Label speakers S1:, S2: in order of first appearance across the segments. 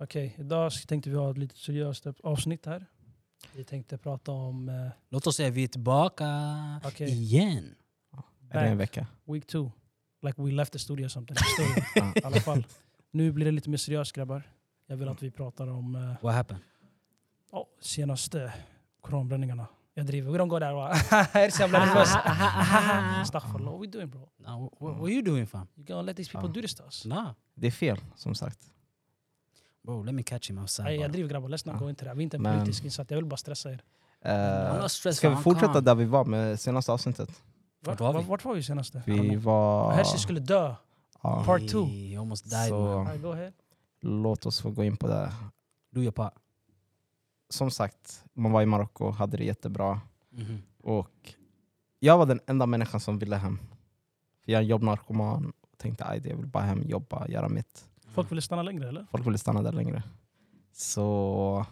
S1: Okej, idag tänkte vi ha ett lite seriöst avsnitt här. Vi tänkte prata om eh,
S2: Låt oss säga vi är tillbaka
S1: Okej.
S2: igen.
S3: Är det en
S1: Bank.
S3: vecka?
S1: week two. Like we left the studio or something. Story,
S3: Ja.
S1: I alla fall. Nu blir det lite mer seriöst grabbar. Jag
S3: Mm.
S1: vill att vi pratar om eh,
S2: What happened?
S1: ja, senaste koranbränningarna. Jag driver. We don't go there. va?
S3: Ah,
S1: Jag är så jävla nervös.
S2: Ah,
S1: Astaghfirullah. What we doing bro?
S2: Nah, wh- wh- what are you doing fam?
S1: You gonna let these people
S3: Ja.
S1: do this to us?
S2: Nah.
S3: Det är fel, som sagt.
S2: Bro, let me catch him outside.
S1: Nej, jag
S2: bara.
S1: driver grabbar. Let's not
S3: Ja.
S1: go into that. Vi är inte en
S3: Men-
S1: politisk insatt. Jag vill bara stressa er.
S3: Eh,
S2: I'm not stressed,
S3: ska vi
S2: fam,
S3: fortsätta
S2: calm.
S3: där vi var med senaste avsnittet?
S1: Vart
S2: var vi?
S1: var, vart var vi senaste?
S3: Vi var...
S1: Hersi skulle dö.
S3: ja,
S1: Part two.
S2: Hey, You almost died
S3: Så-
S2: man.
S1: Alright, go ahead.
S3: låt oss få gå in på det.
S2: Do your part.
S3: Som sagt, man var i Marocko, hade det jättebra.
S2: Mhm.
S3: Och jag var den enda människan som ville hem. För jag är en jobbnarkoman och tänkte att jag vill bara hem, jobba, göra mitt.
S1: Folk ville stanna längre eller?
S3: Folk ville stanna där längre. Så,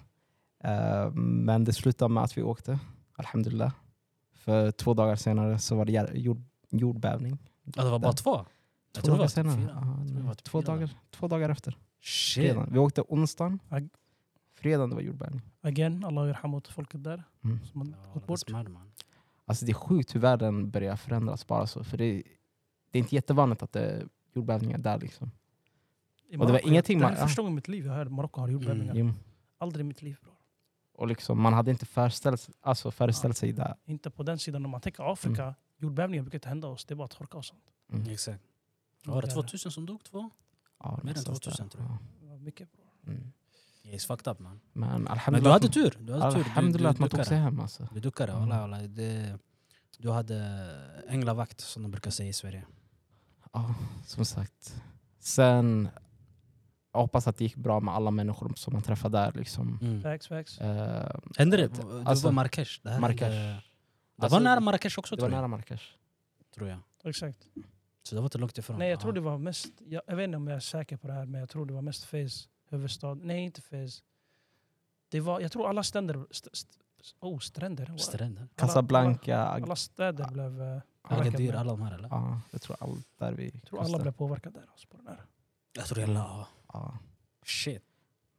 S3: eh, men det slutade med att vi åkte, alhamdulillah. För två dagar senare så var det jär- jord, jordbävning.
S2: Ja, det var bara två?
S3: Två
S2: Jag tror det
S3: dagar
S2: var typ
S3: senare.
S2: fyra.
S3: Ja,
S2: tror det var typ
S3: två,
S2: fyra
S3: dagar, två dagar efter.
S2: Shit.
S3: Fredagen. Vi åkte onsdagen.
S1: Ag-
S3: Fredagen det var jordbävning.
S1: Again, Allah yarham åt folket där.
S3: Mm.
S1: Som har
S2: Ja,
S1: gått
S2: that's
S1: bort.
S2: mad, man.
S3: Alltså det är sjukt hur världen börjar förändras bara så. För det, är- det är inte jättevanligt att det är jordbävningar där. Liksom.
S1: I
S3: det var
S1: Marocko,
S3: ingenting
S1: Det här
S3: man- Mm.
S1: är första gången i mitt liv jag hör Marocko har jordbävningar.
S3: Jo.
S1: Aldrig i mitt liv bror.
S3: Och liksom, man hade inte föreställt, alltså föreställt sig där.
S1: Inte på den sidan. Om man tänker Afrika,
S3: Mm.
S1: jordbävningar brukar inte hända oss. Det är bara torka och sånt.
S2: Exakt. Var det
S1: Mm, Okej.
S2: 2000 som dog? Två?
S3: Ja,
S2: Mer än
S3: någonstans där.
S2: 2000 tror jag.
S1: Det var mycket bror.
S3: Ja. Mm.
S2: Yeah, it's fucked up man.
S3: Men
S2: Men du
S3: alhamdulillah,
S2: hade tur. Du hade tur. Du- du-
S3: alhamdulillah att man
S2: du
S3: tog sig
S2: duckade.
S3: hem. Alltså.
S2: Du duckade.
S3: Mm.
S2: walla, walla. Det- Du hade änglavakt som de brukar säga i Sverige.
S3: Ja, som sagt. Sen, jag hoppas att det gick bra med alla människor som man träffade där. Liksom.
S2: Mm.
S1: Facts, facts.
S3: Eh,
S2: Hände det?
S3: Alltså-
S2: Det var Marrakesh. Det, här
S3: Marrakesh.
S2: hände- det
S3: Alltså,
S2: var nära Marrakesh också
S3: det var
S2: tror,
S3: nära
S2: jag,
S3: Marrakesh.
S2: tror jag.
S1: Exakt.
S2: Så det var inte långt ifrån.
S1: Nej, jag
S2: Ja.
S1: tror det var mest... Jag, jag vet inte om jag är säker på det här, men jag tror det var mest Fez huvudstad. Nej, inte Fez. Det var, jag tror alla ständer... St, st, oh, stränder? Wow.
S2: Stränder.
S1: Alla-
S3: Casablanca,
S1: Alla, alla städer blev... eh, påverkade.
S2: Agadir, alla de här eller?
S3: Ja, jag tror allt där vi
S1: Jag tror alla blev påverkade där. Alltså, på den här.
S2: Jag tror hela... ja.
S3: Ja.
S2: Shit.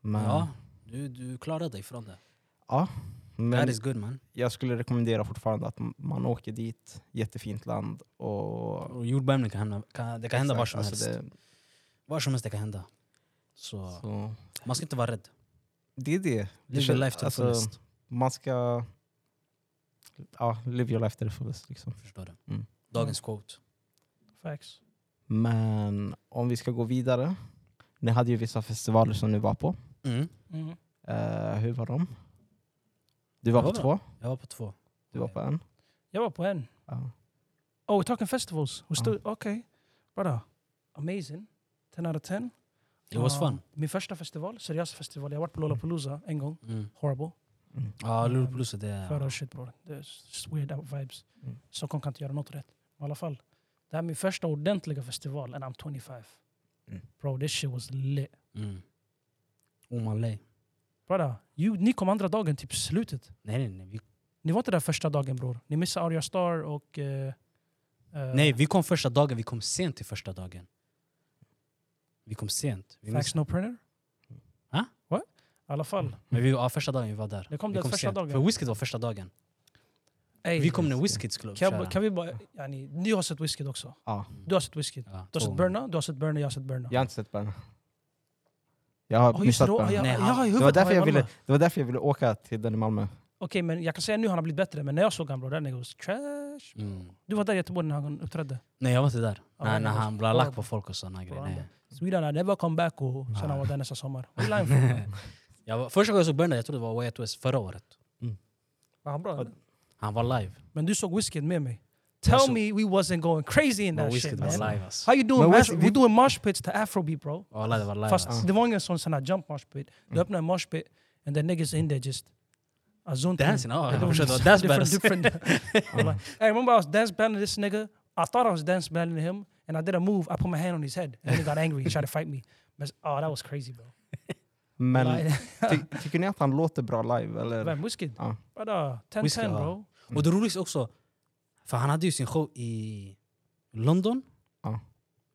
S3: Men,
S2: Ja, du, du klarade dig från det.
S3: men
S2: That is good man.
S3: jag skulle rekommendera fortfarande att m- man åker dit. Jättefint land. Och,
S2: Och jordbävning kan hända, kan, det kan hända var som
S3: Alltså,
S2: helst.
S3: det-
S2: Var som helst det kan hända. Så
S3: så,
S2: man ska inte vara rädd.
S3: det är det.
S2: Live your
S3: känns-
S2: life to the
S3: alltså,
S2: fullest.
S3: Man ska... Ja, live your life to the fullest. Liksom.
S2: Förstår du?
S3: Mm.
S2: Dagens quote.
S1: Facts.
S3: Men om vi ska gå vidare. Ni hade ju vissa festivaler som ni var på.
S2: Mm.
S1: Mm.
S3: Eh, hur var de? Du
S2: Det
S3: var på
S2: var bra.
S3: två,
S2: Jag var på två.
S3: du var på en.
S1: Jag var på en.
S3: Ja.
S1: Oh, we're talking festivals. We're
S3: Ja.
S1: still okay, brother. Amazing. 10 out of 10.
S2: It was
S1: Ja,
S2: fun.
S1: Min första festival, seriös festival. Jag har varit på Lollapalooza en gång.
S2: Mm.
S1: Horrible.
S3: Mm.
S2: Ja, Lollapalooza det
S1: Förra
S2: är...
S1: och shit bror. Det är just weird out vibes.
S3: Mm.
S1: Stockholm kan inte göra något rätt. Men I alla fall. Det här är min första ordentliga festival and I'm 25.
S3: Mm.
S1: Bro, this shit was lit.
S2: Mm. Omalay.
S1: Brother, you, ni kom andra dagen, typ slutet.
S2: Nej, nej, nej. Vi,
S1: Ni var inte där första dagen bror. Ni missade Arya Star och... eh, eh,
S2: nej, vi kom första dagen. Vi kom sent till första dagen. Vi kom sent. Vi
S1: Facts
S2: missade.
S1: No Printer.
S2: Ha?
S1: What? I alla fall.
S2: Men vi, ja, första dagen vi var där.
S1: Ni kom
S2: vi
S1: där första dagen.
S2: För Whisked var första dagen.
S1: Ey,
S2: Vi kom när
S3: just det.
S2: Whiskeds klubb
S1: Kan,
S2: köra.
S1: jag, kan vi bara, yani, ni har sett Wizkid också.
S3: Ja.
S1: Du har sett Wizkid.
S2: Ja,
S1: Du har
S2: två
S1: sett
S2: gånger.
S1: Burna, du har sett Burna, jag har sett Burna.
S3: Jag har inte sett Berna. Jag har
S1: Ja, just det,
S3: missat
S1: då-
S3: Berna.
S1: ja,
S2: Nej,
S1: ja,
S2: han-
S1: i
S3: Det
S1: huvudet
S3: var,
S1: har
S3: därför jag
S1: Malmö.
S3: ville, det var därför jag ville åka till den i Malmö.
S1: Okej, men jag kan säga nu har han blivit bättre, men när jag såg han bror, den är goes trash.
S2: Mm.
S1: Du var där i Göteborg när han uppträdde.
S2: Nej, jag var inte där.
S1: Ja,
S2: nej,
S1: men
S2: när
S1: det var-
S2: han blev lack på folk och
S1: Bra,
S2: såna grejer. Nej.
S1: Sweden, I never come back. Och sen
S2: Ja.
S1: han var där nästa sommar. Vad är han för?
S2: Jag var, första gången jag såg Burna, jag tror det var Way Out West förra året.
S1: Var han bra eller?
S2: Han var live.
S1: Men du såg Wizkid med mig.
S2: Jag
S1: Tell
S2: såg-
S1: me we wasn't going crazy in
S2: Men
S1: that shit
S2: Whisked var
S1: man.
S2: live alltså.
S1: How you doing?
S3: Men
S1: man?
S3: Wizkid-
S1: We doing mosh pits to afrobeat bro.
S2: Wallah, det var live.
S1: Fast
S2: alltså.
S1: det var ingen sån sån här jump mosh pit. Du
S3: Mm.
S1: öppnar en mosh pit and the niggas in there just... I zoned in.
S2: Dancing, ja.
S1: It
S2: jag
S1: was
S2: försökte vara
S1: just
S2: dance battles.
S1: different, different. I'm like, hey, remember I was dance battling this nigga? I thought I was dance battling him, and I did a move. I put my hand on his head, and he got angry. He tried to fight me. But, oh, that was crazy, bro.
S3: Men
S1: like,
S3: ty, tycker ni att han låter bra live? Eller?
S1: vem, Wizkid?
S3: Ja.
S1: But, uh, 10
S2: Wizkid,
S1: 10,
S2: ja.
S1: bro.
S2: Och det roligaste också, för han hade ju sin show i London.
S3: Ja.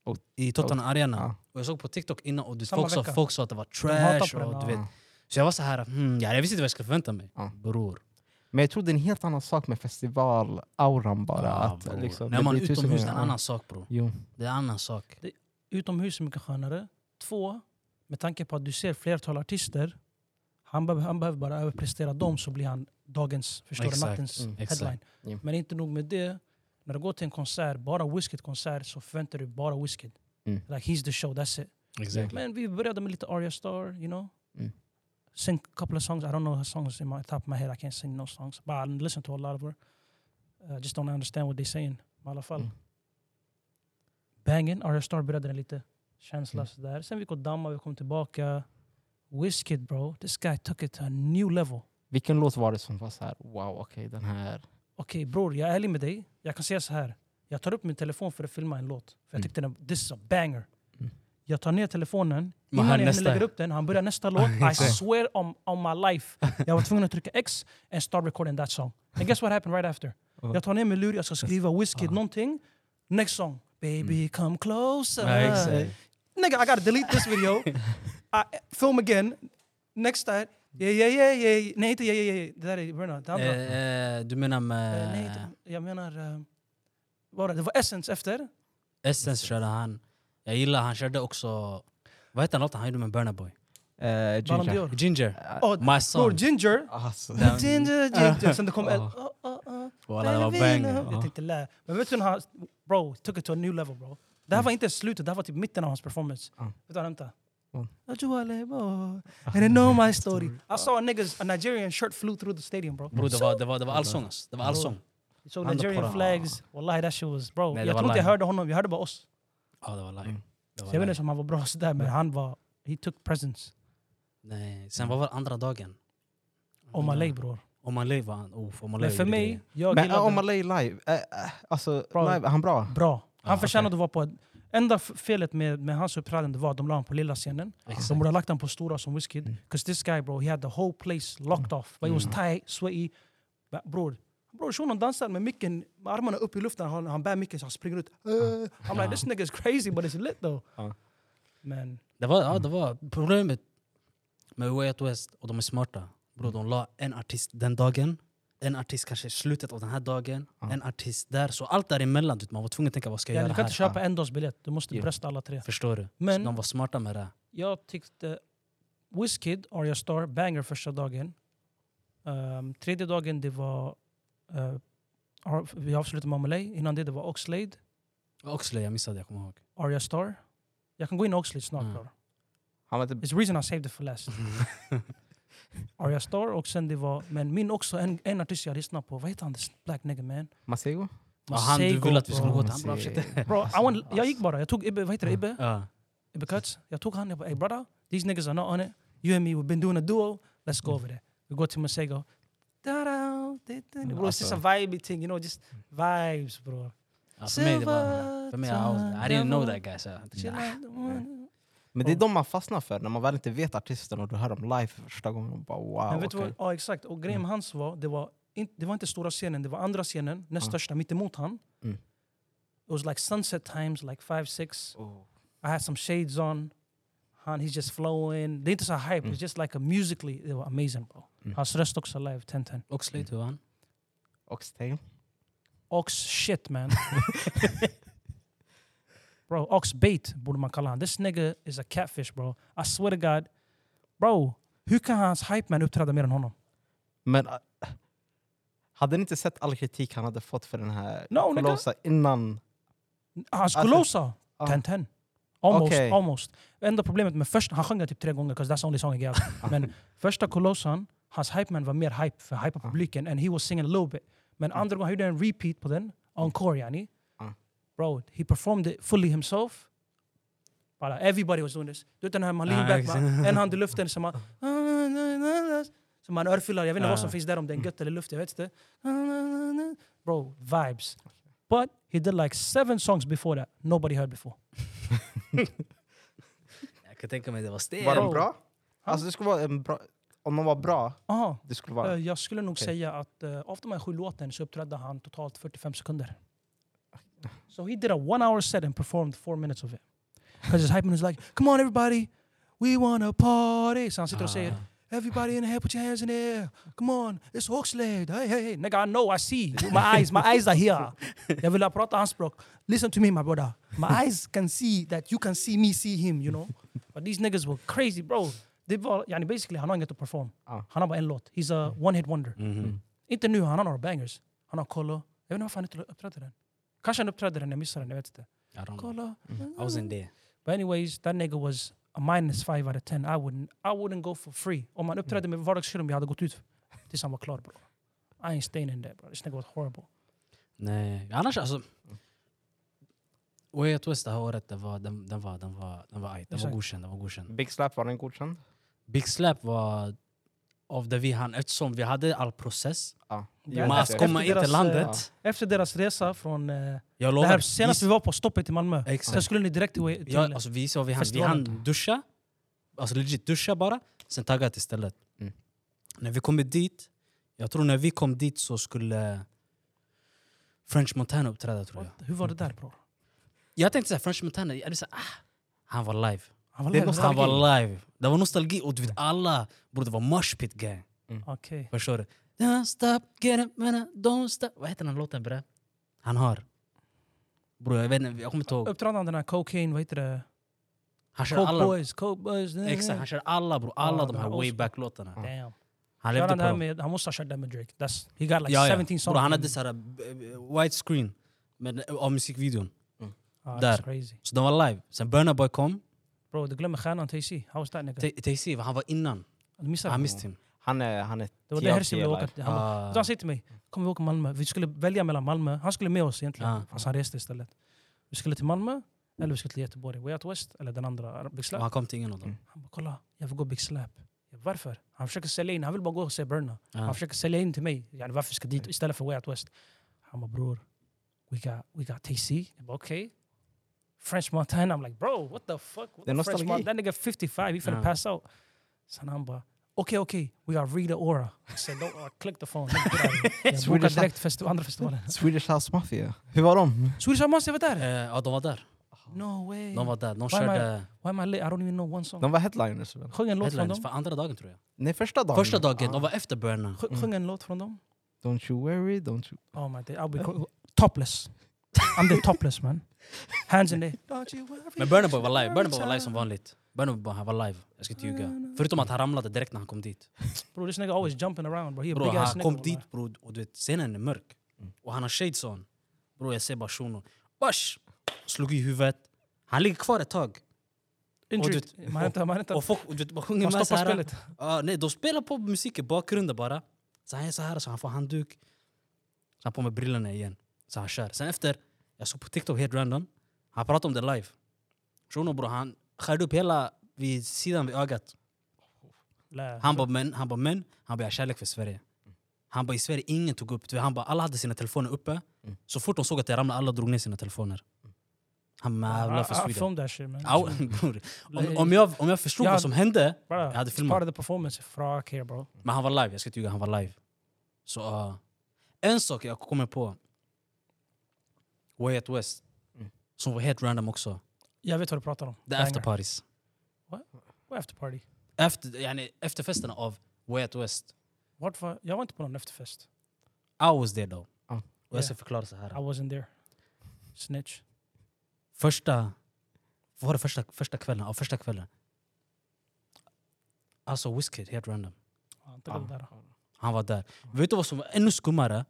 S3: Och-
S2: I Tottenham Arena.
S3: Ja.
S2: Och jag såg på TikTok innan och du,
S1: Samma
S2: folk, sa,
S1: vecka.
S2: folk sa att det var
S1: hatar på
S2: trash.
S1: den,
S2: och, du
S1: ja.
S2: vet. Så jag var så här, hmm, ja, jag visste inte vad jag skulle förvänta mig.
S3: Ja.
S2: Bror.
S3: Men jag tror det är en helt annan sak med festivalauran bara.
S2: Ja,
S3: att,
S2: bror.
S3: liksom,
S2: När man är
S3: blir tusen
S2: utomhus det är en
S3: gånger-
S2: annan sak bror.
S3: Jo.
S2: Det är en annan sak.
S1: Utomhus är mycket skönare. Två, med tanke på att du ser flertal artister. Han, be- han behöver bara överprestera dem så blir han dagens, förstår du,
S2: Exakt.
S1: nattens
S3: Mm,
S2: exakt.
S1: headline.
S3: Ja.
S1: Men inte nog med det. När du går till en konsert, bara Wizkid-konsert, så förväntar du dig bara Wizkid.
S3: Mm.
S1: Like he's the show, that's it. Men vi började med lite Arya Star, you know.
S3: Mm.
S1: Sing a couple of songs. I don't know her songs in my top of my head. I can't sing no songs. But I listen to a lot of her. I just don't understand what they're saying. I alla fall.
S3: Mm.
S1: Bangen, Arya Star började den lite. Känsla
S3: Mm.
S1: sådär. Sen vi gick och dammade, vi kom tillbaka. Wizkid bro, this guy took it to a new level.
S3: Vilken låt var det som var så här, wow, okej den här...
S1: Okej bror, jag är ärlig med dig. Jag kan säga så här. Jag tar upp min telefon för att filma en låt. För jag
S3: Mm.
S1: tyckte den, this is a banger.
S3: Mm.
S1: Jag tar ner telefonen.
S2: Men
S1: Innan
S2: han
S1: jag
S2: nästa-
S1: nästa... lägger upp den, han börjar nästa låt. I
S2: Exakt.
S1: swear on, on my life. Jag var tvungen att trycka X and start recording that song. And guess what happened right after?
S3: Vad?
S1: Jag tar ner min lur, jag ska skriva Wizkid
S2: Ah. Mm.
S1: någonting. Next song. Baby come closer.
S2: Ja, exakt.
S1: Nigga, I gotta delete this video. I, film again. Next time. Yeah, yeah, yeah, yeah. Nej, inte yeah, yeah, yeah. Det där är Bruno. Det andra.
S2: Eh, eh, du menar
S1: Eh,
S2: med
S1: nej, inte, jag menar... eh, vad var det? det var Essence efter.
S2: Essence körde han. Jag gillar han körde också... Vad heter låten han gjorde med Burna Boy?
S3: Eh,
S1: Ballon
S3: Ginger.
S1: d'Or.
S2: Ginger.
S3: Eh,
S1: Oh,
S2: My
S1: Bror,
S2: son.
S1: Ginger.
S3: Alltså.
S2: Den-
S1: Ginger, Ginger. Sen det kom... El-
S3: Ah.
S1: oh, oh, oh.
S2: Walla, det var
S1: Jag
S2: banger.
S1: tänkte inte lä. Men vet du när han... Bro, took it to a new level bro. Det här
S2: Mm.
S1: var inte slutet, det här var typ mitten av hans performance.
S3: Ja.
S1: Vänta, vänta.
S3: Mm.
S1: Don't you wanna boy, and you know my story. I saw a niggas, a Nigerian shirt flew through the stadium bro.
S2: Bror det var, det var, det var allsång alltså. Det var allsång.
S1: So
S2: Mm. Han
S1: Nigerian
S2: på-
S1: flags, wallahi that shit was bro.
S2: Nej, det
S1: jag
S2: var
S1: trodde jag
S2: live.
S1: hörde honom, jag hörde bara oss.
S2: Ja det var Mm. live.
S3: Mm.
S2: Det
S1: Så
S2: var
S1: jag vet
S2: live.
S1: inte om han var bra sådär men han var... He took presents.
S2: Nej. Sen vad var andra dagen?
S1: Om
S2: Mm.
S1: Malay bror.
S2: Omalay var han. Oh, Omalay
S1: Men för
S2: gjorde
S1: mig,
S2: grejer.
S1: jag
S3: Men
S1: gillade...
S3: eh, om man lägger live, eh, eh, alltså,
S1: Bra.
S3: live, är han bra?
S1: Bra. Han
S2: Ah,
S1: förtjänade att vara på... ett- Enda f- felet med, med hans uppträdande var att de la honom på lilla scenen. De
S2: Exakt.
S1: borde ha lagt honom på stora som Wizkid.
S3: Mm.
S1: Because this guy bro, he had the whole place locked off. But he was
S2: Mm.
S1: tight, sweaty. Ba- Bror, bror shunon dansar med micken, med armarna upp i luften. Han, han bär micken så han springer ut.
S3: Ah.
S1: Uh, I'm
S2: Ja.
S1: like this nigga is crazy but it's lit though.
S3: Ja.
S1: Men
S2: Det var, ja, det var problemet med Way Out West, och de är smarta. Bro, de la en artist den dagen, en artist kanske i slutet av den här dagen,
S3: Ja.
S2: en artist där. Så allt däremellan, du vet, man var tvungen att tänka vad ska jag
S1: ja, du
S2: göra
S1: kan
S2: här? Ah.
S1: inte köpa en dags biljett. Du måste
S3: Ja.
S1: brösta alla tre.
S2: Förstår du?
S1: Men-
S2: så de var smarta med det.
S1: Jag tyckte Wizkid, Arya Star, banger första dagen. Ehm, tredje dagen det var... eh, Ar- vi avslutade med Malay. Innan det, det var Oxlade,
S2: Oxley, jag missade, jag kommer ihåg.
S1: Arya Star. Jag kan gå in i Oxlade snart.
S2: Mm.
S1: bror.
S3: Han var typ inte...
S1: It's the reason I saved it for last. Arya Star och sen det var... Men min också, en, en artist jag lyssnade på. Vad heter han? This black nigga man.
S3: Masego?
S2: Ja, han du
S1: Masego,
S2: ville att vi
S1: bro.
S2: skulle gå Mm. till, han
S3: Masego.
S2: bara försökte...
S1: Bro, I want, jag gick bara. Jag tog Ibbe, vad heter det? Ibbe?
S2: Ja.
S1: Ibbe Cuts. Jag tog han, jag bara ey brother, these niggas are not on it. You and me, we've been doing a duo. Let's
S3: Mm.
S1: go over there. Vi går till Masego. Da-da, da-da.
S3: Mm,
S1: Bro, it's just a vibe thing, you know, just vibes bro.
S2: Ja, för mig, det var, för mig I, was, I didn't know that guy. Så jag tänkte,
S1: Chill
S2: "Ah."
S1: out. Mm.
S3: Men det är de man fastnar för, när man väl inte vet artisten och du hör dem live för första gången. Och bara, wow,
S1: Men vet du
S3: okej.
S1: vad, ja exakt. Och
S3: Mm.
S1: grejen med Oh, hans var, det var, in, det var inte stora scenen, det var andra scenen, näst
S3: Ja.
S1: största, mittemot han.
S3: Ah. Mm.
S1: It was like sunset times, like five six.
S3: Oh.
S1: I had some shades on. Han, he's just flowing. Det är inte så hype,
S3: Mm.
S1: it's just like a musically, it was amazing bro.
S3: Mm.
S1: Hans röst också live, 10-10.
S2: Oxley, hur var han?
S3: Oxtail.
S1: Ox shit man. bro, ox bait borde man kalla han. This nigga is a catfish bro. I swear to God. Bro, hur kan hans hype man uppträda mer än honom?
S3: Men äh, hade ni inte sett all kritik han hade fått för den här
S1: No, nigga.
S3: Colossa innan?
S1: Hans
S3: Alltså,
S1: Colosa,
S3: ja.
S1: 10-10. Almost,
S3: Okej.
S1: almost. Enda problemet med första, han sjöng den typ tre gånger, 'cause that's the only song I gave. Men första Colosan, hans hype man var mer hype för hype
S3: Ja.
S1: publiken and he was singing a little bit. Men andra gången, han gjorde en repeat på den, encore yani.
S3: Ja.
S1: Bro, he performed it fully himself. Bara, everybody was doing this. Du vet den här, man
S2: Ah,
S1: leaning back,
S2: exakt.
S1: man, en hand i luften, så man... Så man örfilar, jag vet inte vad som
S2: Ah.
S1: finns där, om det är en gött eller luft, jag vet inte. Bro, vibes. But he did like seven songs before that nobody heard before.
S2: Jag kan tänka mig det var stel.
S3: Var
S1: Bro.
S3: de bra? Alltså det skulle vara en bra... Om de var bra,
S1: Aha.
S3: det skulle
S1: Eh,
S3: vara...
S1: Jag skulle nog
S3: Okej.
S1: säga att eh, av de här sju låten så uppträdde han totalt 45 sekunder. So he did a one hour set and performed four minutes of it. Because his hype man is like, come on everybody, we wanna party. Så han sitter och säger, everybody in here, put your hands in the air. Come on, it's Oxlade. Hey, hey, hey. Nigga, I know, I see. With My eyes, my eyes are here. Jag vill prata hans språk. Listen to me my brother. My eyes can see that you can see me see him, you know. But these niggas were crazy bro. Det var, yani basically, han har inget att perform.
S3: Ja.
S1: Han har bara en låt. He's a one hit wonder.
S2: Mhm.
S1: Inte nu, han har några bangers. Han har Kollo. Jag vet inte varför han inte uppträdde den. Kanske han uppträdde den, jag missade den, jag vet inte.
S2: I don't know.
S1: Kollo.
S2: Mm.
S1: Mm.
S2: I wasn't there.
S1: But anyways, that nigga was a minus five out of ten. I wouldn't, I wouldn't go for free. Om han uppträdde
S2: Mm.
S1: med vardagsserum, jag hade gått ut tills han var klar bro. I ain't staying in there bro. This nigga was horrible.
S2: Nej, annars alltså. Way Out West det här året, den var, den, den var, den var, den var, ajt. den var
S1: Exakt. Mm.
S2: godkänd. Den var godkänd.
S3: Big Slap, var den godkänd?
S2: Big Slap var av det vi hann, eftersom vi hade all process.
S3: Ja.
S1: Ja,
S2: Men att
S1: efter-
S2: komma in
S1: efter
S2: till
S1: deras, eh,
S2: landet.
S1: Efter deras resa från... Eh,
S2: Jag
S1: det här
S2: lovar.
S1: senast vi
S2: vi-
S1: var på stoppet i Malmö.
S2: Exakt.
S1: Sen skulle ni direkt till... till
S2: Ja, alltså vi såg vi hann, vi
S1: festivalen.
S2: hann duscha. Alltså legit duscha bara, sen taggat istället.
S3: Mm.
S2: När vi kom dit, jag tror när vi kom dit så skulle French Montana uppträda tror jag.
S1: What? Hur var det där bror?
S2: Jag tänkte såhär, French Montana, jag hade såhär, ah, han var live.
S1: Han var
S3: Det är
S1: live,
S3: någonstans-
S1: va?
S2: Han var live. Det var nostalgi och du vet alla, bror det var moshpit gang.
S1: Okej.
S2: Förstår du? Don't stop, get it, man, don't stop. Vad heter den låten bre? Han har. Bror jag vet inte, jag kommer inte ihåg.
S1: Uppträdde han den här cocaine, vad heter det?
S2: Han kör
S1: Coke
S2: alla,
S1: boys, coke boys.
S2: exakt, han kör alla bror. Alla
S1: Ja,
S2: de
S1: den
S2: här
S1: här old
S2: way
S1: school.
S2: back låtarna.
S1: Damn.
S2: Han
S1: Kör han,
S2: levde på
S1: det här
S2: dem.
S1: med, han måste ha kört den med Drake. That's, he got like
S2: Ja, ja.
S1: 17 songs.
S2: Bror, han hade såhär eh, white screen med, eh, av musikvideon.
S1: ah,
S2: där.
S1: That's crazy.
S2: Så den var live. Sen Burna Boy kom.
S1: Bro, du glömmer stjärnan TC. How was that nigga?
S2: Tay- Tay-Z, vad han var innan.
S1: Du missade.
S2: Han
S1: det.
S2: missed him.
S3: Han är, han är
S1: det var
S3: TLC
S1: det Herzi ville åka
S3: live.
S1: till. Han, bara-
S2: Ah.
S1: Så han säger till mig, kommer vi åka till Malmö? Vi skulle välja mellan Malmö, han skulle med oss egentligen,
S2: Ja.
S1: fast han reste istället. Vi skulle till Malmö, eller vi skulle till Göteborg. Way Out West, eller den andra, Big
S2: Och
S1: Slap.
S2: han kom till ingen av dem.
S3: Mm.
S1: Han bara, kolla, jag vill gå Big Slap. Jag, bara, varför? Han försöker sälja in, han vill bara gå och se Burna.
S2: Ja.
S1: Han försöker sälja in till mig, yani, varför ska jag dit istället för Way Out West? Han bara, bror, we got, we got TC. Jag bara, okej. French Montana, I'm like, bro, what the fuck? What
S3: Det är
S1: the French
S3: nostalgi.
S1: Montana? That nigga 55, he finna
S2: Ja.
S1: pass out. Sen han bara, okej, okej, we got Rita Ora. I said, no, I click the phone. Get out of here. Jag
S3: Swedish
S1: bokade
S3: House-
S1: direkt festi- andra festivalen.
S3: Swedish House Mafia. Hur var de?
S1: Swedish House, jag var där!
S2: Eh, ja, de var där.
S1: No way!
S2: De var där. De
S1: Why am I-
S2: körde
S1: Why am I late? I don't even know one song.
S3: De var headliners väl?
S1: Sjung en låt från
S2: headlines
S1: dem.
S2: för andra dagen tror jag.
S3: Nej, första dagen.
S2: Första dagen,
S3: Ah.
S2: de var efter Burna.
S1: Sj- Sjung en låt från dem.
S3: Don't you worry, don't you...
S1: Oh my day, I'll be cr- topless. I'm the topless man. Hands in the... Don't you worry.
S2: Men Burna Boy var live. Burna Boy var live som vanligt. Burna Boy han var live. Jag ska inte ljuga. Förutom att han ramlade direkt när han kom dit.
S1: Bro, this nigga always jumping around bro. He a
S2: Bro,
S1: big ass
S2: han
S1: nigga.
S2: kom
S1: wallah.
S2: dit bro, och du vet, scenen är mörk. Och han har shades on. Bro, jag ser bara shunon. Bash! Slog i huvudet. Han ligger kvar ett tag.
S1: Injured. Eh, Man har inte- man har inte...
S2: Och folk och du vet, bara sjunger
S1: Man
S2: med
S1: stoppar
S2: såhär.
S1: spelet.
S2: Ja, nej, de spelar på musik i bakgrunden bara. Så han är så här, så han får handduk. Så han på med brillorna igen. Så han kör. Sen efter, jag såg på TikTok helt random. Han pratade om det live. Shunon bror, han skär upp hela vid sidan vid ögat.
S1: Lä.
S2: Han bara men, han bara men, han bara jag har kärlek för Sverige. Han bara i Sverige ingen tog upp det. Han bara alla hade sina telefoner uppe.
S3: Mm.
S2: Så fort de såg att jag ramlade, alla drog ner sina telefoner. Han bara jävlar för
S1: I- I- I
S2: Sweden.
S1: filmed that shit man.
S2: Au, bror. Om, om, jag, om jag förstod
S1: Jag-
S2: vad som hände,
S1: Bro,
S2: jag hade
S1: it's part
S2: filmat.
S1: of the performance. Fuck here bro.
S2: Men han var live, jag ska inte ljuga, han var live. Så ah, en sak jag kommer på. Way Out West.
S3: Mm.
S2: Som var helt random också.
S1: Jag vet vad du pratar om.
S2: Det är after parties.
S1: What after party?
S2: Efter, yani, efterfesterna av Way Out West.
S1: Vart var... Jag var inte på någon efterfest.
S2: I was there though.
S3: Ja.
S2: Och jag ska förklara så här.
S1: I wasn't there. Snitch.
S2: första... Vad var det första, första kvällen? Ja, första kvällen. Alltså Wizkid, helt random.
S1: Ja,
S2: Ah.
S1: Inte det där.
S2: Han var där. Vet du vad som var ännu skummare?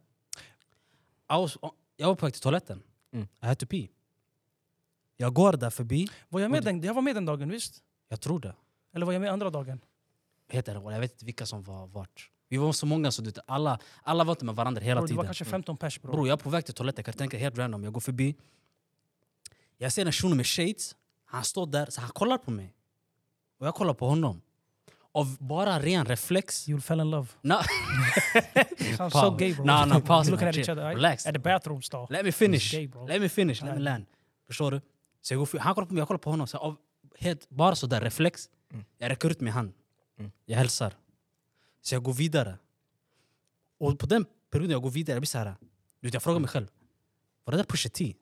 S2: I was, uh, jag var på väg till toaletten.
S3: Mm.
S2: Jag hade topi. Jag går där förbi.
S1: Var jag med den... Jag var med den dagen visst?
S2: Jag tror det.
S1: Eller var jag med andra dagen?
S2: Heter det. Jag vet inte vilka som var vart. Vi var så många så du vet, alla, alla var inte med varandra hela
S1: Bro, det var
S2: tiden.
S1: kanske 15 pers bro.
S2: Bror, jag är på väg till toaletten. Jag kan tänka helt random. Jag går förbi. Jag ser en shuno med shades. Han står där, så han kollar på mig. Och jag kollar på honom. Av bara ren reflex.
S1: You fell in love.
S2: No,
S1: Sounds so
S2: Pause.
S1: gay bro.
S2: Nah, nah, pause,
S1: You're looking
S2: man.
S1: at each
S2: Chill.
S1: other. Right?
S2: Relax.
S1: At the bathroom stall.
S2: let me finish.
S1: Gay, bro.
S2: Let me finish. Let me land. Förstår du? Så jag går för, han kollar på mig, jag kollar på honom. Så av, helt, bara så där reflex. Jag räcker ut min hand. Jag hälsar. Så jag går vidare. Och på den perioden jag går vidare, jag blir så här. Du vet, jag frågar mig själv. Var det där Pusha T? I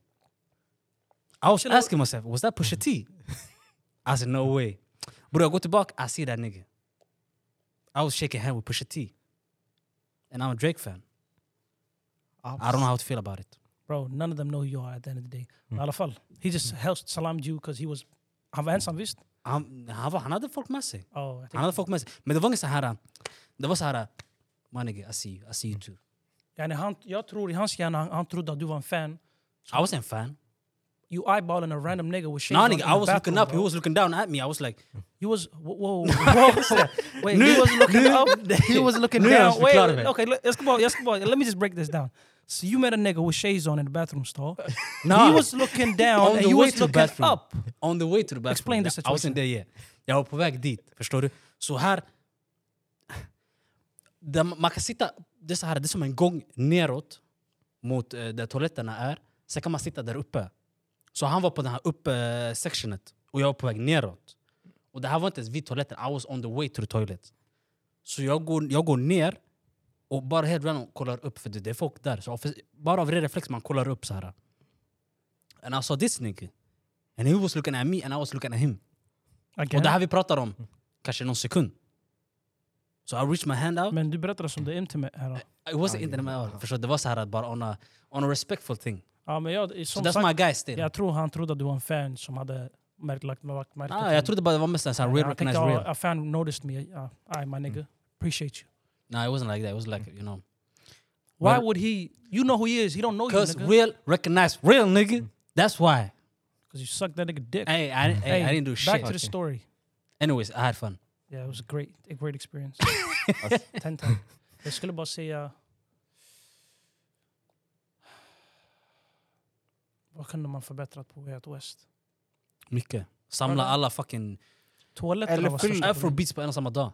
S2: was asking myself, was that Pusha T? I said, no way. Bro, I go to Bach, I see that nigga. I was shaking hand with Pusha T. And I'm a Drake fan. I don't know how to feel about it.
S1: Bro, none of them know who you are at the end of the day.
S2: Hmm.
S1: I alla fall. He just helped salamed you because he was... Han var ensam visst?
S2: Han han var- han hade folk med sig.
S1: Oh, jag
S2: Han
S1: tänkte,
S2: hade folk med sig. Men det var inget så här... Det var så här... My nigga, I see you. I see you too.
S1: yani han, jag tror i hans hjärna, han, han trodde att du var en fan.
S2: I wasn't a fan.
S1: You eyeballing a random nigga with shades
S2: No,
S1: on
S2: nigga,
S1: in
S2: I
S1: the
S2: was
S1: bathroom,
S2: looking up. He
S1: bro.
S2: was looking down at me. I was like,
S1: You was whoa, whoa, whoa. whoa. wait. he was looking up. He was looking
S2: Nu är han
S1: down.
S2: så
S1: Wait,
S2: klar
S1: wait,
S2: med.
S1: okay. Let's go. Let's go. Let me just break this down. So you met a nigga with shades on in the bathroom stall.
S2: Uh, Nah.
S1: He was looking down
S2: On
S1: and
S2: the
S1: you
S2: way
S1: was
S2: to the
S1: looking
S2: bathroom.
S1: up.
S2: On the way to the bathroom.
S1: Explain the
S2: I wasn't there yet. Jag var på väg dit, förstår du? Så här... Där man man kan sitta... Det är, så här, det är som en gång neråt mot eh, där toaletterna är. Sen kan man sitta där uppe. Så han var på den här uppe-sectionet och jag var på väg neråt. Och det här var inte ens vid toaletten, I was on the way to the toilet. Så jag går, jag går ner och bara helt random kollar upp för det, det är folk där. Så av- bara av ren reflex man kollar upp så här. And I saw this nigga. And he was looking at me and I was looking at him.
S1: Again.
S2: Och det här vi pratar om kanske någon sekund. So I reached my hand out.
S1: Men du berättade som det intimate här. då.
S2: It wasn't
S1: Ah,
S2: inte med öron. Förstår du? Det var så här att bara on a, on a respectful thing.
S1: Ja, men jag,
S2: So
S1: som
S2: that's
S1: sagt,
S2: my guy still.
S1: jag tror han trodde att du var en fan som hade märkt, lagt, lagt märke
S2: Ah, jag trodde bara det var mest en sån här real
S1: Han tänkte,
S2: recognize
S1: "Ah,
S2: real.
S1: A fan noticed me. Uh, I, my nigga. Appreciate you.
S2: No, it wasn't like that. It was like, you know.
S1: Why
S2: Well-
S1: would he? You know who he is. He don't know you,
S2: Because
S1: nigga. Mm.
S2: real recognize real nigga. That's why.
S1: Because you sucked that nigga dick.
S2: Hey, I, didn't- hey, I didn't do
S1: Back
S2: shit.
S1: to the story.
S2: Anyways, I had fun.
S1: Yeah, it was a great, a great experience. Ten ten. Jag skulle bara säga... Vad kunde man förbättrat på Way Out West?
S2: Mycket. Samla
S1: Vadå?
S2: alla fucking
S1: Toaletterna
S4: Eller
S1: var
S4: fyll-
S1: största problemet.
S2: afrobeats på en och samma dag.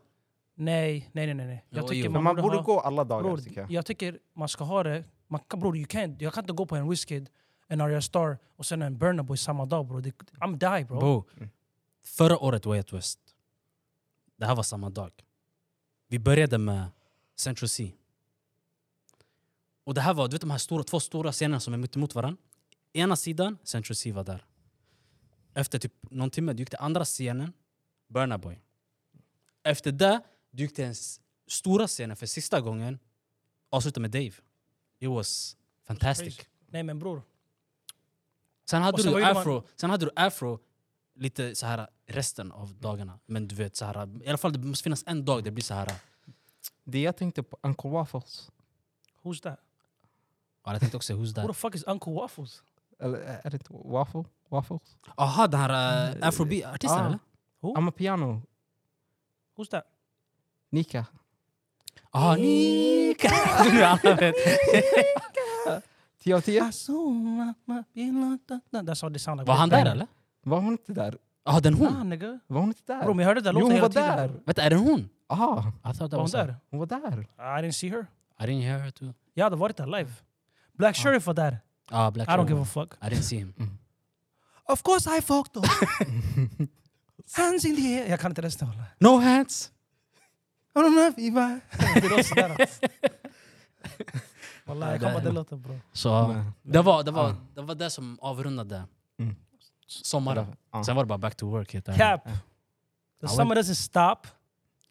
S1: Nej, nej, nej, nej, nej. Jag
S2: Jo,
S1: tycker
S2: jo.
S4: Men
S1: man,
S4: man borde
S1: ha,
S4: gå alla dagar
S1: bror,
S4: tycker jag.
S1: jag tycker man ska ha det... Man, kan- bror, you can't, jag kan inte gå på en Wizkid, en Arya Star och sen en Burna Boy samma dag bror. Det- I'm die bro.
S2: Bro, förra året var jag i West. Det här var samma dag. Vi började med Central C. Och det här var, du vet de här stora, två stora scenerna som är mitt emot varandra. Ena sidan, Central C var där. Efter typ någon timme, du gick till andra scenen, Burna Boy. Efter det, du gick till den s- stora scenen för sista gången, avslutade med Dave. It was fantastic.
S1: Nej men bror,
S2: Sen hade,
S1: Och sen
S2: du
S1: vad gjorde
S2: afro, sen hade du afro lite så här resten av dagarna. Men du vet, så här, i alla fall det måste finnas en dag det blir så här.
S3: Det jag tänkte på, Uncle Waffles.
S1: who's that?
S2: Ja, jag tänkte också who's
S1: Who the
S2: that?
S1: fuck is Uncle Waffles?
S3: Eller ä- är det inte Waffle? Waffles?
S2: Jaha, den här uh, afrobeat-artisten
S3: Ah.
S2: eller?
S1: Oh.
S3: I'm a piano.
S1: Who's that?
S3: Nika.
S2: Jaha, Nika! Nu alla vet.
S3: 10 av
S2: Ah.
S3: 10.
S1: Azuma, ma- bila- da- da- That's how they sound like.
S2: Var han där eller?
S3: Var hon inte där?
S2: Ja, den
S1: Ah,
S2: hon.
S1: nigga.
S3: Var hon inte där?
S1: Bro, men jag hörde den
S3: jo,
S1: låten
S3: hon
S1: hela
S3: var
S1: tiden.
S3: där.
S2: Vänta, är det hon?
S3: Ah,
S2: I thought that
S1: Var hon
S2: was her.
S1: där?
S3: hon var där.
S1: I didn't see her.
S2: I didn't hear her too.
S1: Jag hade varit där live. Black Sheriff var där.
S2: Ah, Black
S1: I don't give a
S2: Shadow.
S1: fuck.
S2: I didn't see him.
S1: Of course I fucked up. Hands in the air. Jag kan inte resten walla.
S2: No hands!
S1: I don't know if I- Det är också där, alltså. Walla, jag kan bara den låten bro.
S2: Så
S3: Nej.
S2: det var det, var,
S3: Ah.
S2: det var det som avrundade
S3: Mm.
S2: sommaren.
S3: Ah.
S2: Sen var det bara back to work. helt ärligt.
S1: Cap. The
S2: I
S1: summer doesn't stop.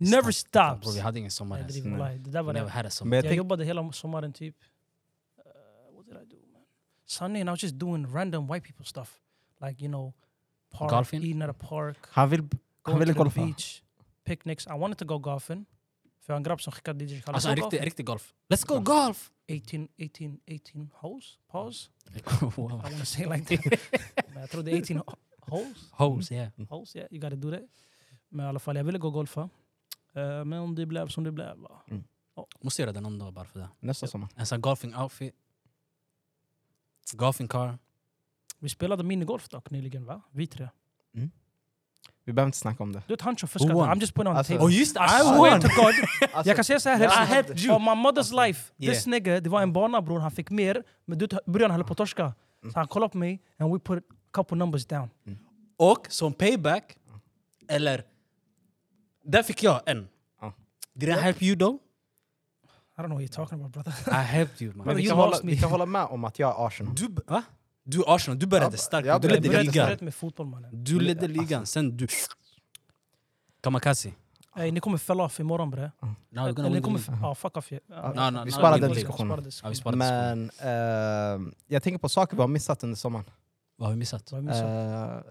S1: Never
S2: Bro,
S1: stops.
S2: Vi hade ingen
S1: Nej,
S2: sommar
S1: det
S2: ens.
S1: är- walla, det där var
S2: We
S1: det.
S2: never had a summer.
S3: Men jag
S1: Jag
S3: tänkte,
S1: jobbade hela sommaren typ. Uh, what did I do man? Sunday and I was just doing random white people stuff. Like you know, park,
S2: Golfing?
S1: eating at a park,
S3: han vill, han
S1: going to
S3: ville
S1: the
S3: golfa.
S1: beach, picnics. I wanted to go golfing. För jag har en grabb som skickade DJ Khaled.
S2: Alltså
S1: Go
S2: en riktig, en
S1: golfing.
S2: riktig golf. Let's go golf!
S1: 18, 18, 18 holes? Pause?
S2: wow.
S1: I want to say it like that. Men jag tror det är 18 ho- holes.
S2: Hoes, yeah.
S1: Holes, yeah. You gotta do that. Men i alla fall, jag ville gå golfa. Eh, men det blev som det blev. va.
S2: Måste göra det någon dag bara för det.
S3: Nästa sommar.
S2: En sån golfing outfit. Golfing car.
S1: Vi spelade minigolf dock nyligen va? Vi tre.
S3: Vi behöver inte snacka om det.
S1: Du vet han fuskade.
S2: won?
S1: I'm just putting on the
S3: Alltså,
S1: table.
S2: Oh just det,
S1: I
S2: I
S1: swear
S2: won!
S1: to God.
S3: Alltså,
S1: Jag kan säga så här.
S3: jag
S1: hälften.
S2: helped you.
S1: On my mother's life.
S2: Alltså, yeah.
S1: This nigga, det var en bana bror. Han fick mer. Men du, början höll på att torska. Så han kollade på mig and we put a couple numbers down.
S2: Och som payback, eller... Där fick jag en.
S3: Ja.
S2: Did I help you though?
S1: I don't know what you're talking about brother.
S2: I helped you man.
S3: men vi
S1: you
S3: kan, hålla,
S1: lost me.
S3: vi kan hålla med om att jag är Arsenal.
S2: Du, b- va? Du Arsenal, du började
S4: Ja,
S2: starkt.
S4: jag
S2: du
S4: började
S2: ledde
S1: Jag har
S2: ligan.
S1: börjat med fotboll mannen.
S2: Du ledde ligan, sen du... Kamakazi.
S1: Ey, ni kommer fälla off imorgon bre.
S2: Now we're gonna Ah,
S1: Eller ni
S2: win the
S1: kommer...
S2: league.
S1: Ja, fuck off. Ja.
S2: No, no,
S3: Vi
S2: no,
S3: sparar
S2: we win
S3: den
S2: the league.
S3: diskussionen.
S2: Ja, vi sparar diskussionen.
S3: Men eh, jag tänker på saker vi har missat under sommaren.
S2: Vad har vi missat?
S1: Vad missar jag?
S3: Eh,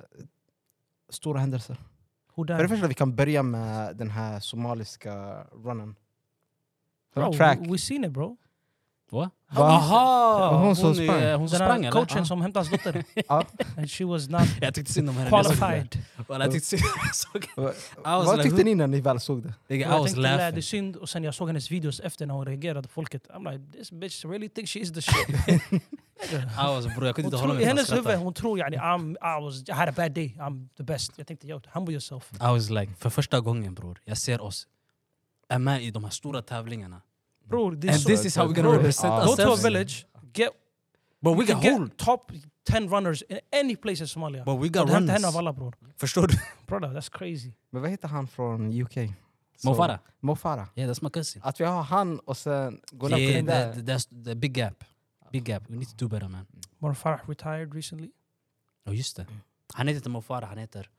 S3: stora händelser.
S1: Uh, Who
S3: För det
S1: died?
S3: första, vi kan börja med den här somaliska runnen.
S1: Bro,
S2: Oh,
S3: track.
S1: we- we seen it bro.
S2: Va?
S3: Va?
S2: Jaha!
S3: Hon som
S2: är-
S3: sprang.
S2: Hon som
S1: Den
S2: sprang Uh-huh.
S1: här
S2: eller?
S1: coachen som hämtade hans dotter.
S3: Ja.
S1: And she was not
S2: Jag tyckte synd om henne. när jag såg det.
S1: qualified.
S2: Walla, Jag tyckte synd jag såg henne.
S3: Vad-
S2: was
S3: Vad
S2: like,
S3: tyckte
S2: who-
S3: ni när ni väl såg det?
S2: Nigga, I
S1: Jag
S2: was
S1: tänkte "Nej, det är
S2: laughing.
S1: synd och sen jag såg hennes videos efter när hon reagerade på folket. I'm like this bitch really think she is the shit.
S2: I was bror, jag kunde
S1: Hon
S2: inte
S1: tror,
S2: hålla
S1: I
S2: mig från att
S1: hennes huvud
S2: skratta.
S1: hon tror yani I'm, I, was, I had a bad day, I'm the best. Jag tänkte yo, humble yourself.
S2: I was like, för första gången bror, jag ser oss är med i de här stora tävlingarna.
S1: Bror, det är
S2: And
S1: så-
S2: this is how we're gonna
S1: Bro,
S2: represent
S3: go
S1: Go to a
S2: ourselves.
S1: village, get,
S2: But we
S1: you
S2: got
S1: get
S2: hold.
S1: top 10 runners in any place in Somalia.
S2: But we
S1: Det
S2: got
S1: har hänt
S2: runners.
S1: henne av alla bror.
S2: Förstår du?
S1: Brother, that's crazy.
S3: Men vad heter han från UK? Så-
S2: Mo Farah.
S3: Mo Farah.
S2: Yeah, that's my cousin.
S3: Att vi har han och sen går
S2: Yeah,
S3: upp till
S2: that-
S3: där.
S2: that's the big gap. Big gap. We need to do better man.
S1: Mor Farah retired recently.
S2: Ja just det. Han heter inte Mo Farah, han heter...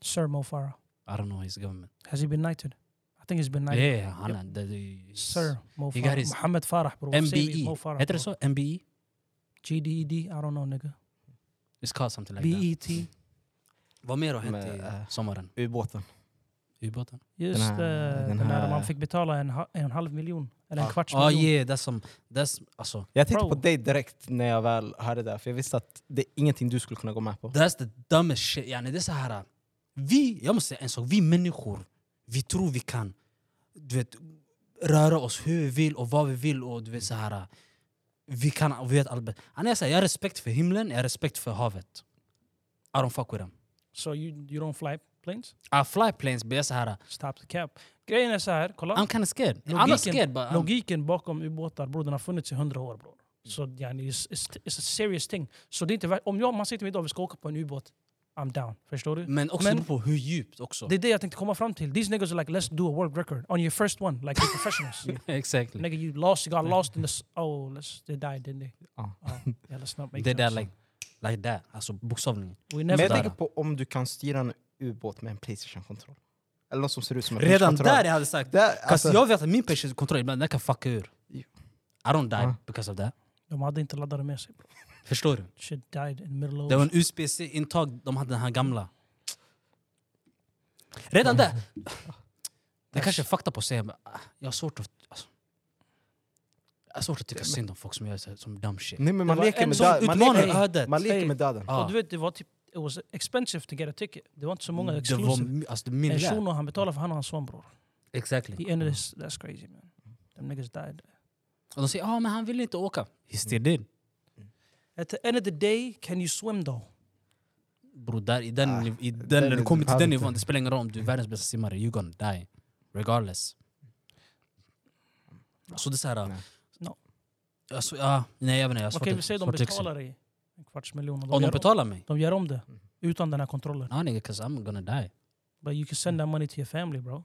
S1: Sir Mo Farah.
S2: I don't know his government.
S1: Has he been knighted? I think he's been knighted.
S2: Yeah, han är... the- the-
S1: Sir Mo
S2: He
S1: Farah.
S2: got his-
S1: Mohammed Farah bror.
S2: MBE.
S1: Mo Farah,
S2: Heter det
S1: bror.
S2: så? E? MBE?
S1: GDED, E I don't know nigga. E
S2: It's called something like that.
S1: BET.
S2: Vad mer har hänt
S3: Men, eh,
S2: i sommaren?
S3: Ubåten.
S2: Ubåten?
S1: Just
S3: Den här-
S1: eh,
S3: den
S1: den här
S3: här-
S1: man fick betala en, ha- en halv miljon. Eller en
S3: Ja.
S1: kvarts
S2: Ja
S1: miljon.
S2: Ah. Oh, yeah, that's some... That's, alltså,
S3: Jag tänkte
S1: Bro.
S3: på dig direkt när jag väl hörde det, för jag visste att det är ingenting du skulle kunna gå med på.
S2: that's the dumbest shit. Yani, det är så här... ah. Vi, jag måste säga en sak. Vi människor, vi tror vi kan du vet, röra oss hur vi vill och vad vi vill. Och du vet, så här, ah. vi kan och vi vet allt. bäst. Yani, jag, säger, jag har respekt för himlen, jag har respekt för havet. I don't fuck with them.
S1: So you, you don't fly planes?
S2: I fly planes, but jag är så här...
S1: Stop the cap. Grejen är så här, kolla.
S2: I'm kind of scared. I'm
S1: Logiken-
S2: not scared, but... I'm,
S1: Logiken bakom ubåtar bror, den har funnits i hundra år bror. Så yani, it's, it's, it's a serious thing. Så det är inte värt, om jag, man säger till mig idag vi ska åka på en ubåt, I'm down. Förstår du?
S2: men också
S1: Men-
S2: det beror på hur djupt också.
S1: Det är det jag tänkte komma fram till. These niggas are like let's do a world record on your first one, like you're professionals.
S2: exactly.
S1: Nigga you lost, you got lost in the... s- Oh, let's, they died didn't they?
S3: Ja.
S1: Oh, yeah, let's not make
S2: Det där
S1: noise.
S2: Ah. like, like that, alltså bokstavligen.
S1: We
S3: Men
S1: never
S3: jag
S2: där.
S1: died.
S3: tänker på om du kan styra en ubåt med en Playstation-kontroll. Eller något som ser ut som en
S2: Redan
S3: Playstation-kontroll.
S2: där jag hade sagt,
S3: Där,
S2: Alltså,
S3: alltså,
S2: jag vet att min patient kontroll ibland den kan fucka ur.
S3: Jo.
S2: I don't die
S3: Ja.
S2: because of that.
S1: De hade inte laddare med sig. Bro.
S2: Förstår du?
S1: Shit died in middle
S2: Det var
S1: of...
S2: en USB-C-intag de hade den här gamla. Redan där! Det kanske är fakta på att säga, men ah, jag har svårt att... Alltså, jag har svårt att tycka synd om folk som gör så här, som dumb shit.
S3: Nej, men man
S1: var
S3: leker
S1: en
S3: med
S1: som
S3: döden. Man leker-
S2: Utmanar ödet.
S3: Man leker med döden.
S2: Ah,
S1: Och Mm. du vet, det var typ... It was expensive to get a ticket. Det var inte så många
S2: Mm, det var Mm.
S1: exclusive.
S2: my- alltså,
S1: En
S2: min lär.
S1: shuno han betalade för han och hans son bror.
S2: Exactly.
S1: The end of this, that's crazy man. Them niggas died.
S2: Och de säger ah, men han ville inte åka. He still did.
S1: At the end of the day, can you swim though?
S2: Bror, där, i den,
S3: Ah,
S2: niv- i den,
S3: den
S2: när
S3: är-
S2: du kommer till
S3: behöver
S2: den
S3: inte.
S2: nivån, det spelar ingen roll om du är världens bästa simmare, you're gonna die. Regardless. Så det är såhär...
S3: Nej.
S1: No.
S2: Alltså, ja, nej jag vet inte, jag har
S1: Okej
S2: svårt
S1: vi
S2: att-
S1: säger de
S2: svårt att liksom-
S1: betalar dig en kvarts miljon. och
S2: Om de Mm.
S1: gör om-
S2: betalar mig?
S1: de gör om det. Utan den här kontrollen.
S2: Ja nigga, 'cause I'm gonna die.
S1: But you can send that money to your family bro.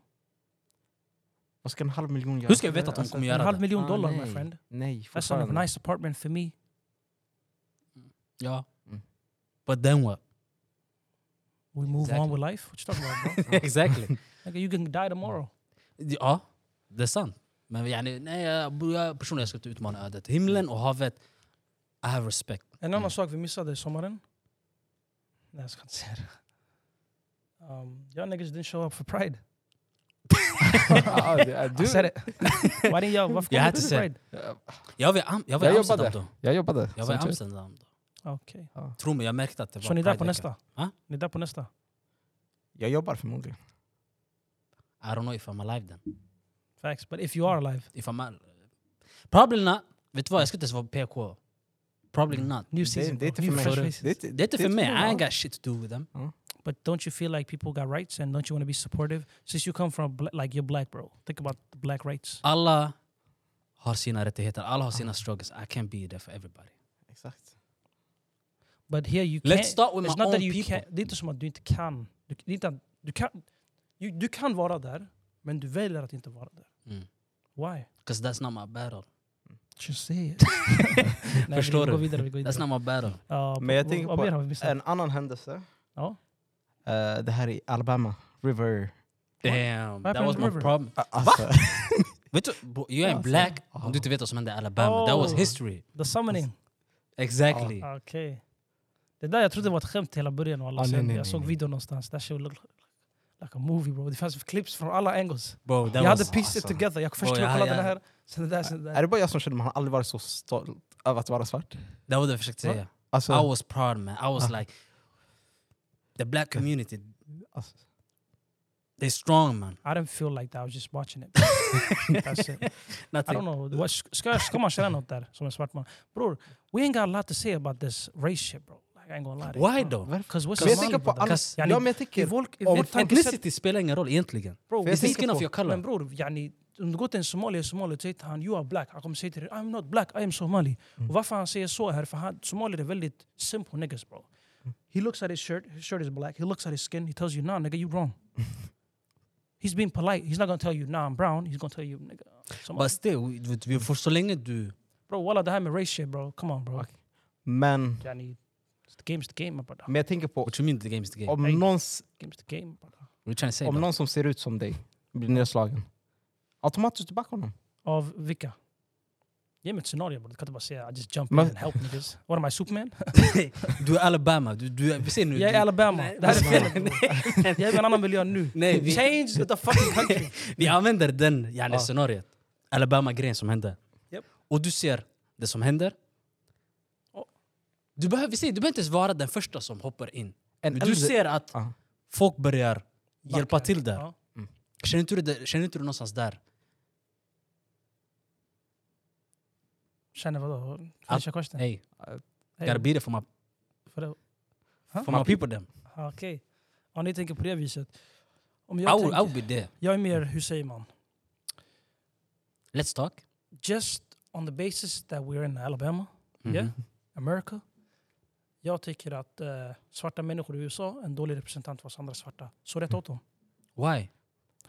S3: Vad ska en halv miljon göra?
S2: Hur ska jag veta att de
S3: Alltså,
S2: kommer
S1: En
S2: göra
S1: halv
S2: det?
S1: miljon
S3: Ah,
S1: dollar
S3: nej.
S1: my friend.
S3: Nej,
S1: That's a
S3: fortfarande.
S1: Alltså, nice apartment for me.
S2: Ja.
S3: Mm.
S2: But then what?
S1: We move
S2: Exactly.
S1: on with life. What you talking about bro?
S2: exactly.
S1: Nigga, you can die tomorrow.
S2: Ja, det är sant. Men yani, nej, jag, jag, personligen jag skulle inte utmana ödet. Himlen och havet, I have respect.
S1: En annan
S2: Mm.
S1: sak vi missade i sommaren. Nej, jag ska inte säga det. Um, y'all niggas didn't show up for pride.
S3: Ja, det-
S1: I said
S3: du-
S1: it. Why didn't y'all? Varför kom
S2: Jag hade
S1: inte till
S2: sett.
S1: pride?
S2: Jag var i Am- jag var
S3: Jag
S2: i
S3: jobbade.
S2: Amsterdam då.
S3: Jag jobbade.
S2: Jag var i
S3: som tur.
S2: Amsterdam då.
S1: Okej.
S2: Tro mig, jag märkte att det var
S1: Så ni är där på
S2: Pride-vecka.
S1: nästa?
S2: Va?
S1: Ni är där på nästa?
S3: Jag jobbar förmodligen.
S2: I don't know if I'm alive then.
S1: Facts. But if you are alive.
S2: If I'm al- Probably not. Vet du vad, jag skulle inte ens vara PK. Probably not.
S1: New
S3: Det,
S1: season.
S3: det är inte
S1: bro.
S3: för
S1: New
S3: mig.
S1: fresh
S2: Det är
S1: faces.
S3: inte-
S2: Mm. Det är inte för mig, I
S3: ja.
S2: ain't got shit to do with them.
S1: But don't you feel like people got rights and don't you want to be supportive? Since you come from, bla- like you're black bro. Think about the black rights.
S2: Alla har sina rättigheter, alla har sina struggles. I can't be there for everybody.
S3: Exakt.
S1: But here you
S2: Let's
S1: can't.
S2: start with
S1: It's
S2: my
S1: not
S2: own
S1: that you
S2: people.
S1: can, det är inte som att du inte kan. Du, det är inte att, du, kan du, du kan vara där, men du väljer att inte vara där.
S2: Mm.
S1: Why?
S2: Cause that's not my battle.
S1: Just say it. Nej,
S2: Förstår
S1: vi
S2: du?
S1: går vidare, vi går vidare.
S2: That's not my battle.
S1: Ja,
S3: Men jag tänker
S1: vad
S3: på
S1: mer har vi missat?
S3: En annan händelse.
S1: Ja.
S3: Eh, det här i Alabama. River.
S2: Damn,
S1: Vad
S2: that
S1: hände
S2: was
S1: med
S2: my
S1: River?
S2: problem.
S3: Uh, alltså,
S2: Vet du, bro, you ain't
S3: Alltså.
S2: black om du inte vet vad som hände i Alabama. That was
S1: Oh.
S2: history.
S1: The summoning.
S2: Exactly.
S1: Ah, Okej. Det där jag trodde var ett skämt till hela början. Och alla
S3: Ah, nej,
S1: sen
S3: nej,
S1: jag
S3: nej,
S1: såg
S3: nej.
S1: videon någonstans. That shit looked like a movie bro. Det fanns clips från alla angles.
S2: Bro, that
S1: jag
S2: was...
S1: hade pieced it
S3: awesome.
S1: together. Jag först
S2: Bro,
S1: kollade
S2: jag-
S1: kolla
S2: jag-
S1: den här, sen det där, sen Alltså, det
S3: är
S1: där.
S3: det bara jag som känner man har aldrig varit så stolt över att vara svart?
S2: Det var det jag försökte säga.
S3: Alltså,
S2: I was proud man. I was
S3: Ah.
S2: like... The black community,
S3: alltså,
S2: they're strong man.
S1: I didn't feel like that, I was just watching it. That's it. I don't
S2: Nothing.
S1: know. What, ska, jag- ska man känna något där som en svart man? Bror, we ain't got a lot to say about this race shit bro. Like, I ain't gonna lie to you.
S2: Why though?
S1: Because what's
S3: men jag
S1: Somali
S3: tänker på
S1: brother?
S3: alla...
S2: Kas-
S3: Ja,
S1: yani-
S3: men jag
S1: I
S3: tänker...
S1: folk, i
S3: Vårt
S1: vårt tankesätt
S2: Ethnicity spelar ingen roll egentligen.
S1: bro.
S3: Jag
S2: It's
S1: vi-
S3: tänker
S2: thinking
S3: på-
S2: of your
S1: Men
S2: color.
S1: bror, yani, om du går till en somalier, somalier säger till han you are black. Han kommer säga till dig I'm not black, I am somali.
S3: Mm.
S1: Och varför han säger så här, för han, somalier är väldigt simple niggas bro.
S2: Mm.
S1: He looks at his shirt, his shirt is black. He looks at his skin, he tells you nah nigga you wrong. he's being polite, he's not gonna tell you nah I'm brown. He's gonna tell you nigga. Somali.
S2: But still, vi- vi- vi får så länge du...
S1: bro walla det här med race shit bro, come on bro.
S3: Okej. Men,
S1: Yani, it's the game's the game my brother.
S3: men jag tänker på
S2: What you mean the game is the game? What
S3: om
S1: Nej.
S3: någons
S1: Game's the game brother.
S2: you trying to say?
S3: Om
S2: bro?
S3: någon som ser ut som dig blir nedslagen, automatiskt du backar honom.
S1: Av vilka? Ge mig ett scenario bror, du kan inte bara säga I just jump in
S3: Men-
S1: and help niggas. What am I, Superman?
S2: Du är Alabama. Du, du, är- vi ser nu.
S1: Jag är i
S2: du,
S1: Alabama.
S2: Nej,
S1: Det här är
S2: nej,
S1: fel. Jag är i en annan miljö nu.
S2: Nej, vi-
S1: Change the fucking country.
S2: vi använder den yani,
S3: Ja.
S2: scenariot. Alabama-grejen som hände.
S1: Japp.
S2: Och du ser det som händer.
S1: Ja.
S2: Du behöver, vi säger, du behöver inte ens vara den första som hoppar in.
S3: En
S2: Men du
S3: äldre-
S2: ser att
S3: Ja.
S2: folk börjar hjälpa till där.
S1: Ja.
S2: Känner inte du, det- känner inte du någonstans där?
S1: Känner vadå? Finish your question.
S2: Hey,
S1: Hey,
S2: gotta be there for my,
S1: för det-
S2: for my people them.
S1: Ah, Okej. Ja, ni tänker på det viset. Om
S2: I
S1: jag,
S2: will, I
S1: tänker,
S2: will be there.
S1: jag är mer, hur säger man?
S2: Let's talk.
S1: Just on the basis that we're in Alabama,
S2: Mhm.
S1: yeah, America. Jag tycker att eh, svarta människor i USA är en dålig representant för oss andra svarta. Så
S2: Mm.
S1: rätt åt dem.
S2: Why?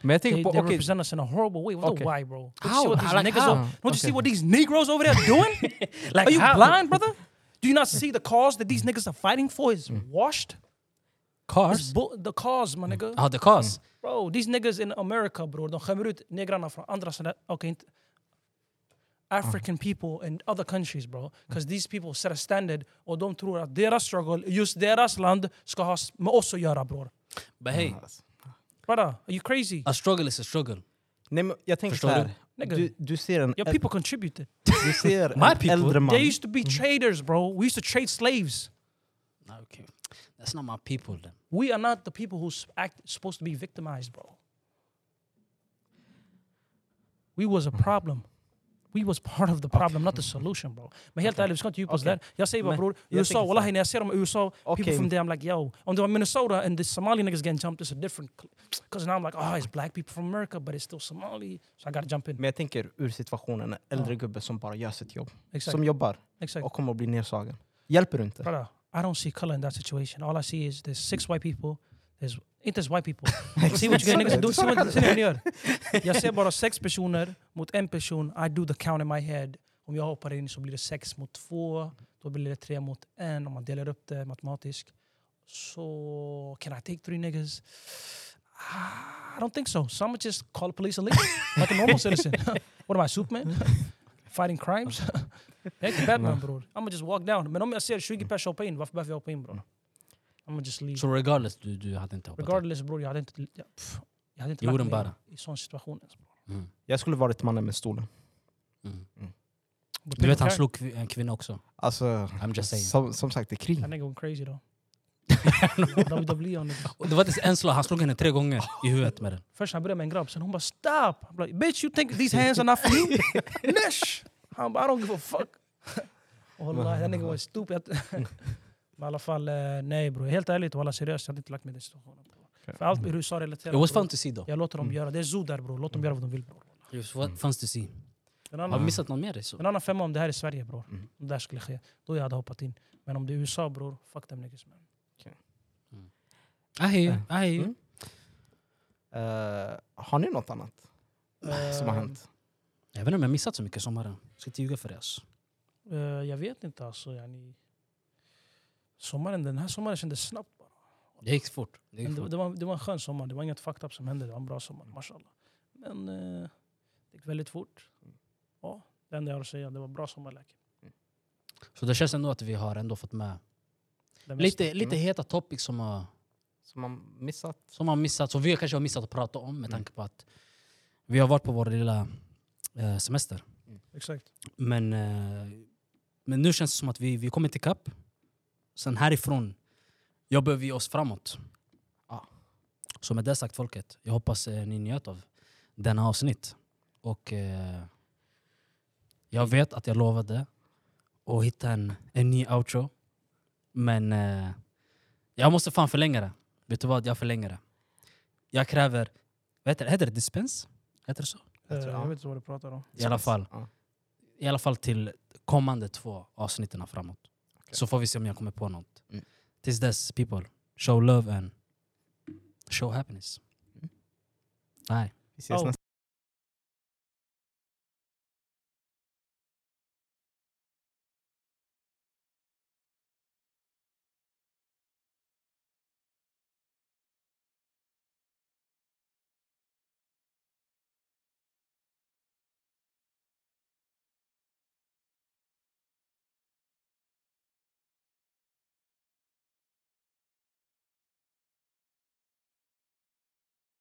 S3: Men jag
S1: They,
S3: tänker på,
S1: they
S3: okej,
S1: represent us in a horrible way. Vadå
S3: Okej.
S1: why bro? Don't you see
S2: How?
S1: what these
S2: Like
S1: niggas
S2: how?
S1: are- Don't you
S3: Okej.
S1: see what these Negroes over there doing?
S2: Like
S1: Are you
S2: how?
S1: blind, brother? Do you not see the cause that these niggas are fighting for is
S2: Mm.
S1: washed? It's
S2: Cars?
S1: bu- the cause,
S2: Mm.
S1: my nigga.
S2: Ja, the cars.
S1: Bro, these niggas in America, bror, de skämmer ut negrarna från andra sidan. Okay, inte-
S2: Ah.
S1: African people in other countries, bro. Because these people set a standard och de tror att deras struggle, just deras land, ska ha s- med oss att göra, bror.
S2: But hey,
S3: Alltså.
S1: Brother, are you crazy?
S2: a struggle is a struggle.
S3: Nej, men jag tänker
S2: Förstår
S3: så här.
S1: du?
S3: Du, du ser en,
S1: Your
S3: äl-
S1: people contributed.
S3: du ser
S2: My
S3: en
S2: people?
S3: äldre man.
S1: They used to be
S2: Mm.
S1: traders, bro. We used to trade slaves.
S2: Nah, Okay. That's not my people then.
S1: We are not the people who's act, supposed to be victimized, bro. We was a problem. We was part of the problem, not the solution, bro. Men helt ärligt, vi ska inte djupa oss
S3: Okej.
S1: där. Jag säger bara
S3: Men
S1: bror,
S3: jag
S1: USA,
S3: tänker så
S1: wallahi
S3: här.
S1: när jag ser dem i USA, people
S3: Okej.
S1: from there, I'm like yo. Om det var Minnesota and the Somali niggas getting jumped, it's a different... Because now I'm like, oh, it's black people from America, but it's still Somali. So I gotta jump in.
S3: Men jag tänker ur situationen, en äldre gubbe som bara gör sitt jobb.
S1: Exakt,
S3: Som jobbar
S1: exakt.
S3: och kommer att bli nedslagen. Hjälper du inte?
S1: Brother, I don't see color in that situation. All I see is there's six white people. There's ain't there's white people. see what you get niggas do. See what, see what ni gör. Jag ser bara sex personer mot en person. I do the count in my head. Om jag hoppar in så blir det sex mot två. Då blir det tre mot en om man delar upp det matematiskt. Så can I take three niggas? Ah, I don't think so. Some just call police and leave. Like a normal citizen. What am I, Superman? Fighting crimes? Jag är inte Batman bror. I'ma just walk down. Men om jag ser 20 personer hoppa in, varför behöver jag hoppa in bror? I'ma just leave.
S2: So regardless, du, du hade inte hoppat in.
S1: Regardless bror, jag hade inte, jag, pff, jag hade inte
S2: You
S1: lagt mig
S2: wouldn't bother.
S1: i sån situation ens. bror.
S2: Mm.
S3: Jag skulle varit mannen med stolen.
S2: Mm.
S1: But
S2: Du vet
S1: people
S2: han
S1: care.
S2: slog kvi- en kvinna också.
S3: Alltså,
S2: I'm just saying.
S3: som, som sagt, det är krig.
S1: That nigga went crazy though. WWE on niggas.
S2: Och Det var inte ens en slag, han slog henne tre gånger i huvudet med den.
S1: Först han började med en grabb, sen hon bara stop! I'm like, Bitch you think these hands are not for you? Nish! Han bara I don't give a fuck. Wallah, den nigga var stupid. Men i alla fall, eh, nej bror. Helt ärligt, wallah seriöst, jag hade inte lagt mig i den situationen. bror. För allt med USA-relaterat.
S2: It was
S1: bror.
S2: fun Mm. to see though.
S1: Jag låter dem göra. Det är zoo där bror. Låt dem göra vad de vill bror.
S2: It was fun- fun to see.
S1: En
S2: Har vi
S1: annan,
S2: missat någon mer? Så?
S1: en annan femma om det här är Sverige bror.
S3: Mm.
S1: Om det här skulle ske. Då jag hade hoppat in. Men om det är USA bror, fuck them niggas man.
S2: I hear you, I hear you.
S3: Mm. Eh, har ni något annat som har hänt?
S2: Jag vet inte om jag missat så mycket i sommaren. Jag ska inte ljuga för det alltså.
S1: Eh, jag vet inte alltså. Yani. Sommaren, den här sommaren kändes snabbt. bara.
S2: Det gick fort. Det
S1: Men
S2: gick
S1: det,
S2: fort.
S1: det, var, det var en skön sommar. Det var inget fucked up som hände. Det var en bra sommar, mashallah. Men eh, det gick väldigt fort. Ja, det enda jag har att säga. Det var bra sommarläge.
S2: Så det känns ändå att vi har ändå fått med
S1: Det mesta.
S2: lite, lite heta topics som har,
S3: Som man missat.
S2: som har missat, som vi kanske har missat att prata om med tanke på att vi har varit på vår lilla eh, semester.
S1: Exakt.
S2: Men, eh, men nu känns det som att vi, vi kommer till kapp. Sen härifrån jobbar vi oss framåt.
S3: Ja.
S2: Så med det sagt folket, jag hoppas eh, ni njöt av denna avsnitt. Och eh, jag vet att jag lovade att hitta en, en ny outro. Men eh, jag måste fan förlänga det. Vet du vad? Jag förlänger det. Jag kräver, vad heter det? Heter det dispens? Heter det så?
S3: Jag
S1: Jag,
S3: tror-
S1: Eh, jag
S3: ja.
S1: vet inte vad du pratar om.
S2: eh, I alla fall
S3: Ja.
S2: i alla fall till kommande två avsnitten framåt.
S3: Okej.
S2: Så får vi se om jag kommer på något.
S3: Mm.
S2: Tills dess, people, show love and show happiness. Nej.
S3: Vi ses
S1: Oh.
S3: nästa